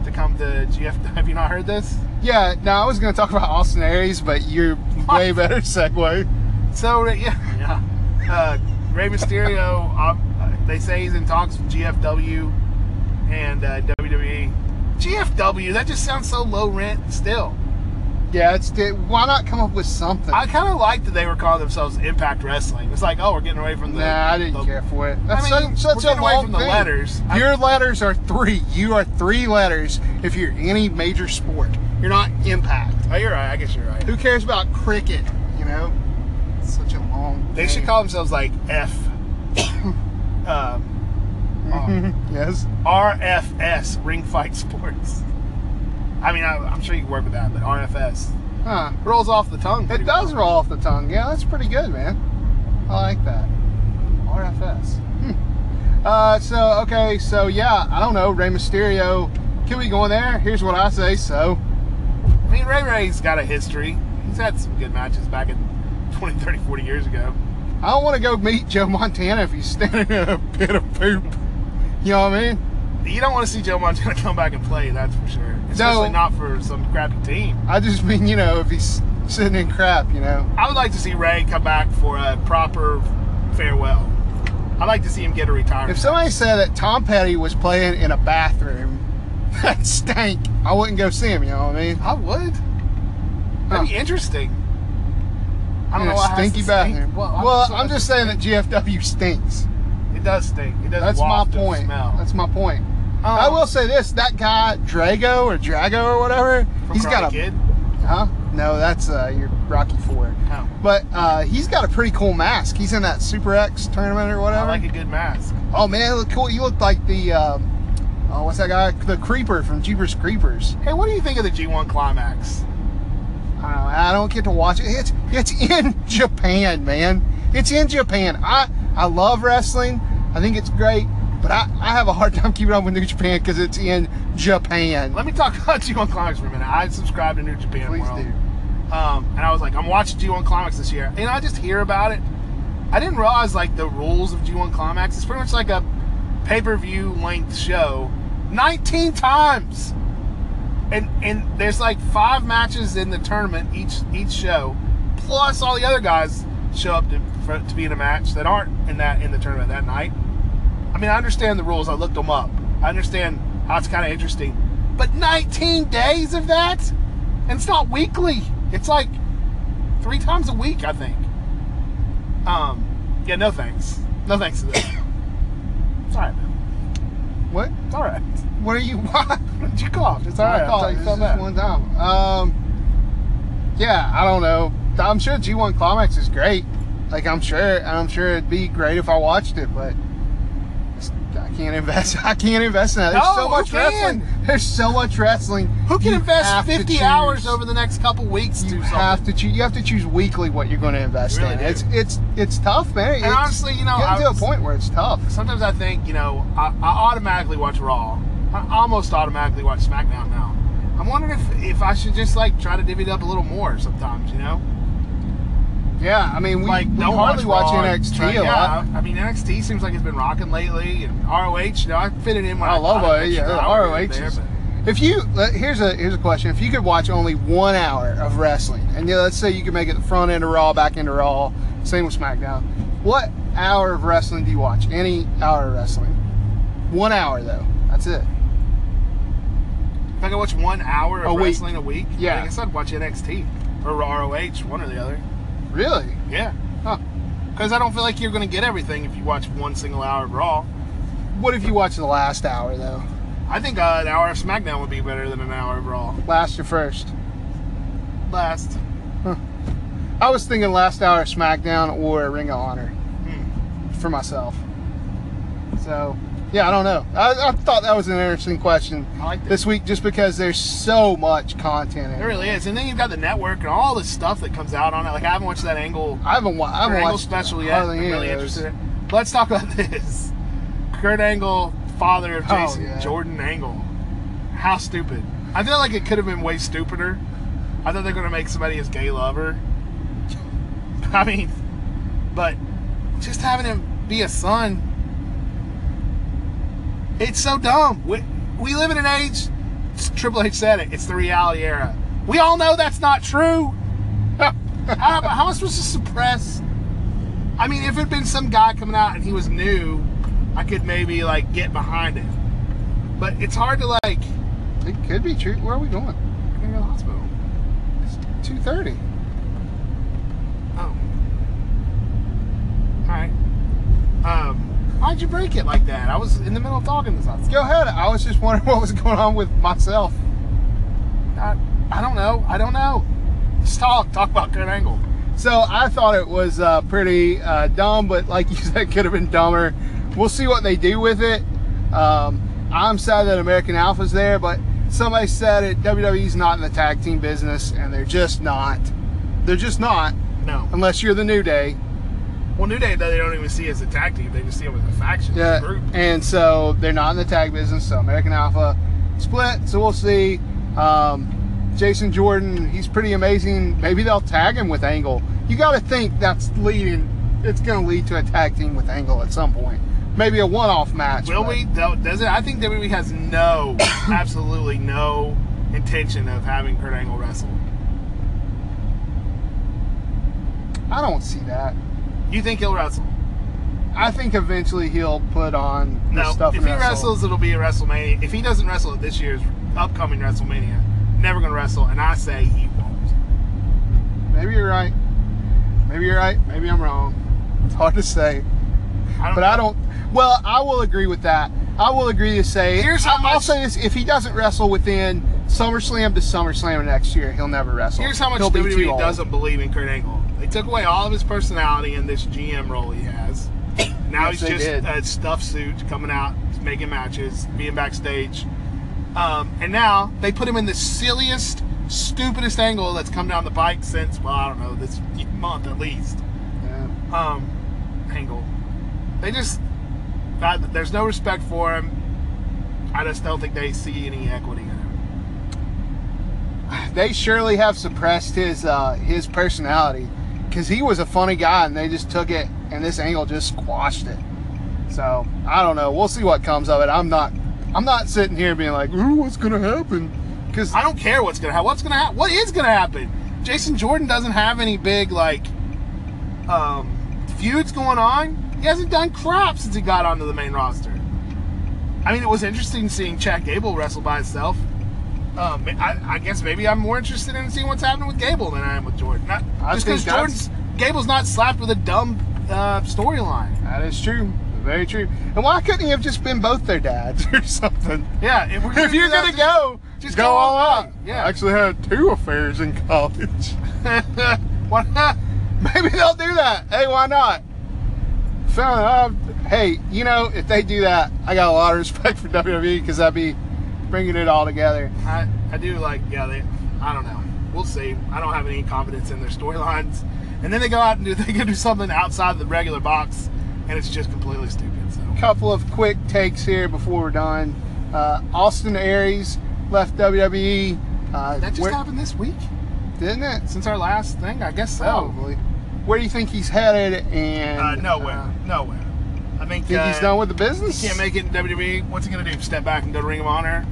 [SPEAKER 4] to come to GF. Have you not heard this?
[SPEAKER 3] Yeah, no, I was gonna talk about Austin Aries, but you're way better segue.
[SPEAKER 4] So uh, yeah, yeah. Uh, Rey Mysterio. um, uh, they say he's in talks with GFW E. and uh, WWE. GFW. That just sounds so low rent. Still,
[SPEAKER 3] Yeah, it's di- why not come up with something?
[SPEAKER 4] I kind of liked that they were calling themselves Impact Wrestling. It's like, oh, we're getting away from the.
[SPEAKER 3] nah, I didn't
[SPEAKER 4] the-
[SPEAKER 3] care for it. That's
[SPEAKER 4] I mean,
[SPEAKER 3] such,
[SPEAKER 4] we're
[SPEAKER 3] such
[SPEAKER 4] getting
[SPEAKER 3] a
[SPEAKER 4] away
[SPEAKER 3] long
[SPEAKER 4] from the
[SPEAKER 3] thing.
[SPEAKER 4] letters. I-
[SPEAKER 3] Your letters are three. You are three letters if you're any major sport. You're not impact.
[SPEAKER 4] Oh, you're right. I guess you're right.
[SPEAKER 3] Who cares about cricket? You know, It's such a long.
[SPEAKER 4] They
[SPEAKER 3] name.
[SPEAKER 4] should call themselves like F. um,
[SPEAKER 3] yes.
[SPEAKER 4] RFS, Ring Fight Sports. I mean, I, I'm sure you can work with that, but RFS
[SPEAKER 3] Huh.
[SPEAKER 4] rolls off the tongue.
[SPEAKER 3] It
[SPEAKER 4] pretty well.
[SPEAKER 3] does roll off the tongue. Yeah, that's pretty good, man. I like that. RFS. Hmm. Uh, so okay, so yeah, I don't know. Rey Mysterio, can we go in there? Here's what I say. So
[SPEAKER 4] I mean, Ray Ray's got a history. He's had some good matches back in 20, 30, 40 years ago.
[SPEAKER 3] I don't want to go meet Joe Montana if he's standing in a pit of poop. You know what I mean?
[SPEAKER 4] You don't want to see Joe Montana come back and play, that's for sure. Especially not for some crappy team.
[SPEAKER 3] I just mean you know if he's sitting in crap, you know.
[SPEAKER 4] I would like to see Ray come back for a proper farewell. I'd like to see him get a retirement.
[SPEAKER 3] If somebody said that Tom Petty was playing in a bathroom that stank, I wouldn't go see him. You know what I mean?
[SPEAKER 4] I would.
[SPEAKER 3] Huh.
[SPEAKER 4] That'd be interesting. I don't
[SPEAKER 3] in
[SPEAKER 4] know
[SPEAKER 3] a
[SPEAKER 4] why it has to
[SPEAKER 3] stinky
[SPEAKER 4] stink.
[SPEAKER 3] bathroom.
[SPEAKER 4] Well,
[SPEAKER 3] Well, I'm just saying that GFW stinks.
[SPEAKER 4] It does stink. It does.
[SPEAKER 3] That's my
[SPEAKER 4] waft and
[SPEAKER 3] point.
[SPEAKER 4] Smell.
[SPEAKER 3] That's my point.
[SPEAKER 4] Um,
[SPEAKER 3] I will say this: that guy Drago or Drago or whatever,
[SPEAKER 4] From
[SPEAKER 3] he's got a
[SPEAKER 4] Karate kid.
[SPEAKER 3] huh? No, that's uh, your Rocky Four.
[SPEAKER 4] Oh.
[SPEAKER 3] But uh, he's got a pretty cool mask. He's in that Super X tournament or
[SPEAKER 4] I
[SPEAKER 3] whatever.
[SPEAKER 4] like a good mask.
[SPEAKER 3] oh man, it looked cool. You look like the um, oh, what's that guy? The Creeper from Jeepers Creepers.
[SPEAKER 4] Hey, what do you think of the G1 climax?
[SPEAKER 3] I don't, I don't get to watch it. It's it's in Japan, man. It's in Japan. I I love wrestling. I think it's great, but I, I have a hard time keeping up with New Japan because it's in Japan.
[SPEAKER 4] Let me talk about G1 climax for a minute. I subscribe to New Japan
[SPEAKER 3] Please
[SPEAKER 4] World,
[SPEAKER 3] do.
[SPEAKER 4] um, and I was like, I'm watching G1 climax this year, and I just hear about it. I didn't realize like the rules of G1 climax. It's pretty much like a pay-per-view length show, 19 times. and and there's like five matches in the tournament each each show, plus all the other guys show up to for, to be in a match that aren't in that in the tournament that night. I mean, I understand the rules. I looked them up. I understand how it's kind of interesting, but 19 days of that, and it's not weekly. It's like three times a week, I think. Um, yeah, no thanks. No thanks to this. it's all right, man.
[SPEAKER 3] What?
[SPEAKER 4] It's all right.
[SPEAKER 3] What are you? What?
[SPEAKER 4] You coughed. It's all
[SPEAKER 3] I
[SPEAKER 4] right. I
[SPEAKER 3] thought
[SPEAKER 4] thought you
[SPEAKER 3] this
[SPEAKER 4] felt
[SPEAKER 3] is
[SPEAKER 4] bad.
[SPEAKER 3] one time. Um, yeah, I don't know. I'm sure G1 Climax is great. Like I'm sure, and I'm sure it'd be great if I watched it, but it's- I can't invest. I can't invest in that. There's
[SPEAKER 4] No,
[SPEAKER 3] so
[SPEAKER 4] who
[SPEAKER 3] much
[SPEAKER 4] can?
[SPEAKER 3] wrestling. There's so much wrestling.
[SPEAKER 4] Who can
[SPEAKER 3] You have
[SPEAKER 4] invest
[SPEAKER 3] to
[SPEAKER 4] 50
[SPEAKER 3] choose.
[SPEAKER 4] hours over the next couple weeks to
[SPEAKER 3] You
[SPEAKER 4] do
[SPEAKER 3] have
[SPEAKER 4] something?
[SPEAKER 3] to choose. You have to choose weekly what you're going to invest
[SPEAKER 4] You really
[SPEAKER 3] in.
[SPEAKER 4] do.
[SPEAKER 3] It's it's it's tough, man.
[SPEAKER 4] And
[SPEAKER 3] It's
[SPEAKER 4] honestly, you know, I
[SPEAKER 3] getting to a
[SPEAKER 4] was-
[SPEAKER 3] point where it's tough.
[SPEAKER 4] Sometimes I think, you know, I, I automatically watch Raw. I almost automatically watch SmackDown now. I'm wondering if, if I should just like try to divvy it up a little more sometimes, you know?
[SPEAKER 3] Yeah, I mean, we,
[SPEAKER 4] like
[SPEAKER 3] we
[SPEAKER 4] don't
[SPEAKER 3] hardly watch,
[SPEAKER 4] Raw and
[SPEAKER 3] NXT
[SPEAKER 4] try-
[SPEAKER 3] a lot.
[SPEAKER 4] Yeah, I mean NXT seems like it's been rocking lately, and ROH. You know, I fit it in when I,
[SPEAKER 3] I love
[SPEAKER 4] got
[SPEAKER 3] it.
[SPEAKER 4] an
[SPEAKER 3] Yeah,
[SPEAKER 4] extra hour
[SPEAKER 3] ROH.
[SPEAKER 4] there,
[SPEAKER 3] is-
[SPEAKER 4] but-
[SPEAKER 3] If you let- here's a here's a question: If you could watch only one hour of wrestling, and you know, let's say you could make it the front end of Raw, back end of Raw, same with SmackDown, what hour of wrestling do you watch? Any hour of wrestling? One hour though. That's it.
[SPEAKER 4] If I could watch one hour
[SPEAKER 3] A
[SPEAKER 4] of
[SPEAKER 3] week.
[SPEAKER 4] wrestling a week,
[SPEAKER 3] Yeah.
[SPEAKER 4] I guess I'd watch NXT or ROH, one or the other.
[SPEAKER 3] Really?
[SPEAKER 4] Yeah.
[SPEAKER 3] Huh.
[SPEAKER 4] Because I don't feel like you're going to get everything if you watch one single hour of Raw.
[SPEAKER 3] What if you watch the last hour though?
[SPEAKER 4] I think uh, an hour of SmackDown would be better than an hour of Raw.
[SPEAKER 3] Last or first?
[SPEAKER 4] Last.
[SPEAKER 3] I was thinking last hour of SmackDown or Ring of Honor
[SPEAKER 4] Hmm.
[SPEAKER 3] for myself. So, yeah, I don't know. I, I thought that was an interesting question
[SPEAKER 4] I like that.
[SPEAKER 3] this week just because there's so much content. In
[SPEAKER 4] It
[SPEAKER 3] it.
[SPEAKER 4] really is. And then you've got the network and all the stuff that comes out on it. Like, I haven't watched that angle,
[SPEAKER 3] I haven't, wa- I
[SPEAKER 4] Kurt
[SPEAKER 3] haven't
[SPEAKER 4] angle
[SPEAKER 3] watched
[SPEAKER 4] special yet.
[SPEAKER 3] hardly
[SPEAKER 4] I'm
[SPEAKER 3] any
[SPEAKER 4] really
[SPEAKER 3] of those.
[SPEAKER 4] interested. in it. Let's talk about this. Kurt Angle, father of
[SPEAKER 3] Oh,
[SPEAKER 4] Jason,
[SPEAKER 3] yeah.
[SPEAKER 4] Jordan Angle. How stupid. I feel like it could have been way stupider. I thought they were going to make somebody his gay lover. I mean, but just having him be a son It's so dumb. We, we live in an age, Triple H said it, it's the reality era. We all know that's not true. how, how am I supposed to suppress? I mean, if it had been some guy coming out and he was new, I could maybe like get behind it. But it's hard to like.
[SPEAKER 3] It could be true. Where are we going?
[SPEAKER 4] I'm gonna go to the hospital.
[SPEAKER 3] two thirty.
[SPEAKER 4] Oh. All right. Um, why'd you break it like that? I was in the middle of talking to something.
[SPEAKER 3] Go ahead. I was just wondering what was going on with myself.
[SPEAKER 4] I, I don't know. I don't know. Just talk. Talk about Kurt Angle.
[SPEAKER 3] So I thought it was uh, pretty uh, dumb, but like you said, could have been dumber. We'll see what they do with it. Um, I'm sad that American Alpha's there, but somebody said it. WWE's not in the tag team business, and they're just not. They're just not,
[SPEAKER 4] No.
[SPEAKER 3] unless you're the New Day.
[SPEAKER 4] Well, New Day, though, they don't even see as a tag team. They just see them as a faction, as
[SPEAKER 3] Yeah,
[SPEAKER 4] a group.
[SPEAKER 3] and so they're not in the tag business. So American Alpha split. So we'll see. Um, Jason Jordan, he's pretty amazing. Maybe they'll tag him with Angle. You got to think that's leading. It's going to lead to a tag team with Angle at some point. Maybe a one-off match.
[SPEAKER 4] Will
[SPEAKER 3] but-
[SPEAKER 4] we? No, does it? I think WWE has no, absolutely no intention of having Kurt Angle wrestle.
[SPEAKER 3] I don't see that.
[SPEAKER 4] You think he'll wrestle?
[SPEAKER 3] I think eventually he'll put on the
[SPEAKER 4] No.
[SPEAKER 3] stuff.
[SPEAKER 4] if
[SPEAKER 3] and
[SPEAKER 4] he
[SPEAKER 3] wrestle.
[SPEAKER 4] wrestles, it'll be at WrestleMania. If he doesn't wrestle at this year's upcoming WrestleMania, never going to wrestle. And I say he won't.
[SPEAKER 3] maybe you're right. Maybe you're right. Maybe I'm wrong. It's hard to say.
[SPEAKER 4] I don't
[SPEAKER 3] But I don't. Well, I will agree with that. I will agree to say.
[SPEAKER 4] Here's how
[SPEAKER 3] I- I'll
[SPEAKER 4] much-
[SPEAKER 3] say this: if he doesn't wrestle within SummerSlam to SummerSlam next year, he'll never wrestle.
[SPEAKER 4] Here's how much E
[SPEAKER 3] He'll be too
[SPEAKER 4] WWE
[SPEAKER 3] old.
[SPEAKER 4] doesn't believe in Kurt Angle. They took away all of his personality in this GM role he has. Now
[SPEAKER 3] Yes,
[SPEAKER 4] he's
[SPEAKER 3] they
[SPEAKER 4] just
[SPEAKER 3] did.
[SPEAKER 4] a stuffed suit coming out, making matches, being backstage. Um, and now they put him in the silliest, stupidest angle that's come down the pike since, well, I don't know, this month at least.
[SPEAKER 3] Yeah.
[SPEAKER 4] Um, angle. They just, that, there's no respect for him. I just don't think they see any equity in him.
[SPEAKER 3] They surely have suppressed his uh, his personality because he was a funny guy, and they just took it, and this angle just squashed it. So I don't know. We'll see what comes of it. I'm not. I'm not sitting here being like, "Ooh, what's gonna happen?" Because
[SPEAKER 4] I don't care what's gonna happen. What's gonna happen? What is gonna happen? Jason Jordan doesn't have any big like um, feuds going on. He hasn't done crap since he got onto the main roster. I mean, it was interesting seeing Chad Gable wrestle by himself. Um, I, I guess maybe I'm more interested in seeing what's happening with Gable than I am with Jordan. Not,
[SPEAKER 3] I
[SPEAKER 4] just
[SPEAKER 3] think
[SPEAKER 4] because
[SPEAKER 3] that's-
[SPEAKER 4] Jordan's Gable's not slapped with a dumb uh, storyline.
[SPEAKER 3] that is true. Very true. And why couldn't he have just been both their dads or something?
[SPEAKER 4] Yeah, if, we're
[SPEAKER 3] if you're
[SPEAKER 4] do that,
[SPEAKER 3] gonna go, just go, all out.
[SPEAKER 4] Yeah.
[SPEAKER 3] I actually had two affairs in college.
[SPEAKER 4] what?
[SPEAKER 3] Maybe they'll do that. Hey, why not? So, uh, hey, you know, if they do that, I got a lot of respect for WWE because that'd be bringing it all together.
[SPEAKER 4] I, I do like, yeah, they, I don't know. We'll see. I don't have any confidence in their storylines. And then they go out and do, they go do something outside the regular box, and it's just completely stupid. So
[SPEAKER 3] Couple of quick takes here before we're done. Uh, Austin Aries left WWE. Uh,
[SPEAKER 4] that just
[SPEAKER 3] where-
[SPEAKER 4] happened this week
[SPEAKER 3] didn't it?
[SPEAKER 4] since our last thing, I guess so.
[SPEAKER 3] Probably. Where do you think he's headed? And
[SPEAKER 4] Oh. Uh, nowhere,
[SPEAKER 3] uh,
[SPEAKER 4] nowhere. I think,
[SPEAKER 3] think
[SPEAKER 4] uh,
[SPEAKER 3] he's done with the business?
[SPEAKER 4] Can't make it in WWE. What's he gonna do? Step back and go to Ring of Honor?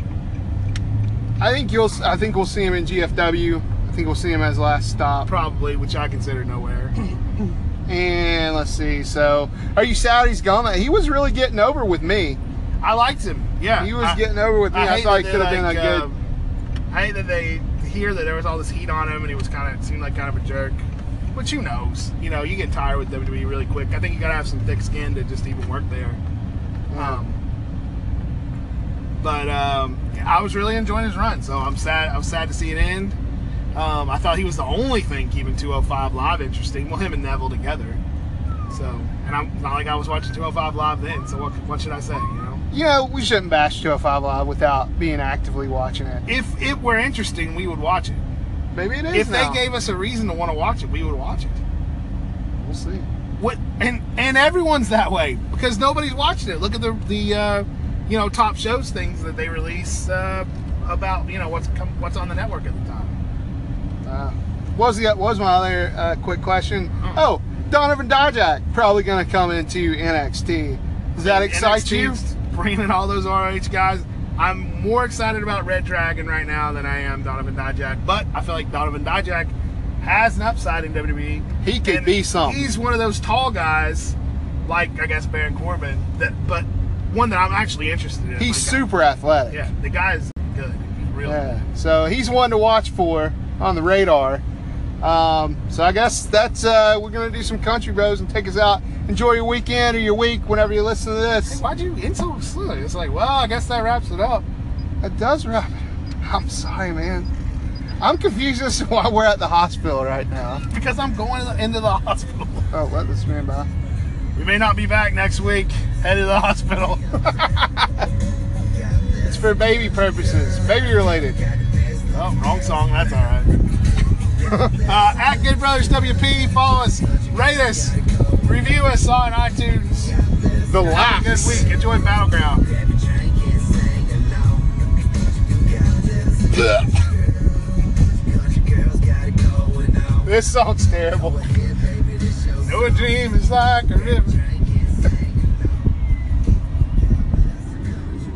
[SPEAKER 3] I think you'll. I think we'll see him in GFW. I think we'll see him as last stop.
[SPEAKER 4] Probably, which I consider nowhere.
[SPEAKER 3] And let's see. So, are you sad he's gone? He was really getting over with me.
[SPEAKER 4] I liked him. Yeah,
[SPEAKER 3] He was
[SPEAKER 4] I-
[SPEAKER 3] getting over with me. I,
[SPEAKER 4] hate
[SPEAKER 3] thought he
[SPEAKER 4] that
[SPEAKER 3] could have
[SPEAKER 4] they,
[SPEAKER 3] been a
[SPEAKER 4] like,
[SPEAKER 3] good.
[SPEAKER 4] um, I hate that they hear that there was all this heat on him, and he was kind of seemed like kind of a jerk. But who knows? You know, you get tired with WWE really quick. I think you gotta have some thick skin to just even work there. Um, but um, I was really enjoying his run, so I'm sad. I'm sad to see it end. Um, I thought he was the only thing keeping 205 Live interesting. Well, him and Neville together. So, and I'm not like I was watching 205 Live then. So what, what should I say? You know.
[SPEAKER 3] you know, we shouldn't bash 205 Live without being actively watching it.
[SPEAKER 4] if it were interesting, we would watch it.
[SPEAKER 3] Maybe it is.
[SPEAKER 4] If
[SPEAKER 3] now.
[SPEAKER 4] they gave us a reason to want to watch it, we would watch it.
[SPEAKER 3] we'll see.
[SPEAKER 4] What and and everyone's that way because nobody's watching it. Look at the the uh, you know top shows things that they release uh, about you know what's come, what's on the network at the time.
[SPEAKER 3] Uh, what was the what was my other uh, quick question?
[SPEAKER 4] Mm.
[SPEAKER 3] Oh, Donovan Dijak probably going to come into NXT. Does that excite
[SPEAKER 4] NXT
[SPEAKER 3] you?
[SPEAKER 4] 's Bringing all those ROH guys. I'm more excited about Red Dragon right now than I am Donovan Dijak, but I feel like Donovan Dijak has an upside in WWE.
[SPEAKER 3] He could
[SPEAKER 4] And
[SPEAKER 3] be something.
[SPEAKER 4] He's one of those tall guys, like I guess Baron Corbin, that but one that I'm actually interested in.
[SPEAKER 3] He's
[SPEAKER 4] Like,
[SPEAKER 3] super athletic.
[SPEAKER 4] Yeah, the guy's good. He's real.
[SPEAKER 3] Yeah. So he's one to watch for on the radar. Um, so I guess that's uh, we're gonna do some country bros and take us out. Enjoy your weekend or your week whenever you listen to
[SPEAKER 4] Hey,
[SPEAKER 3] this.
[SPEAKER 4] why'd you insult Slug? It's like, well, I guess that wraps it up.
[SPEAKER 3] That does wrap it. up. I'm sorry, man. I'm confused as to why we're at the hospital right now.
[SPEAKER 4] Because I'm going into the hospital.
[SPEAKER 3] Oh, let this man by.
[SPEAKER 4] We may not be back next week. Head to the hospital.
[SPEAKER 3] It's for baby purposes, baby related.
[SPEAKER 4] Oh, wrong song. That's all right. uh, at Good Brothers WP, follow us, rate us, review us on iTunes.
[SPEAKER 3] The
[SPEAKER 4] Have a good
[SPEAKER 3] laughs.
[SPEAKER 4] week. Enjoy Battleground.
[SPEAKER 3] This song's terrible.
[SPEAKER 4] No dream is like a river.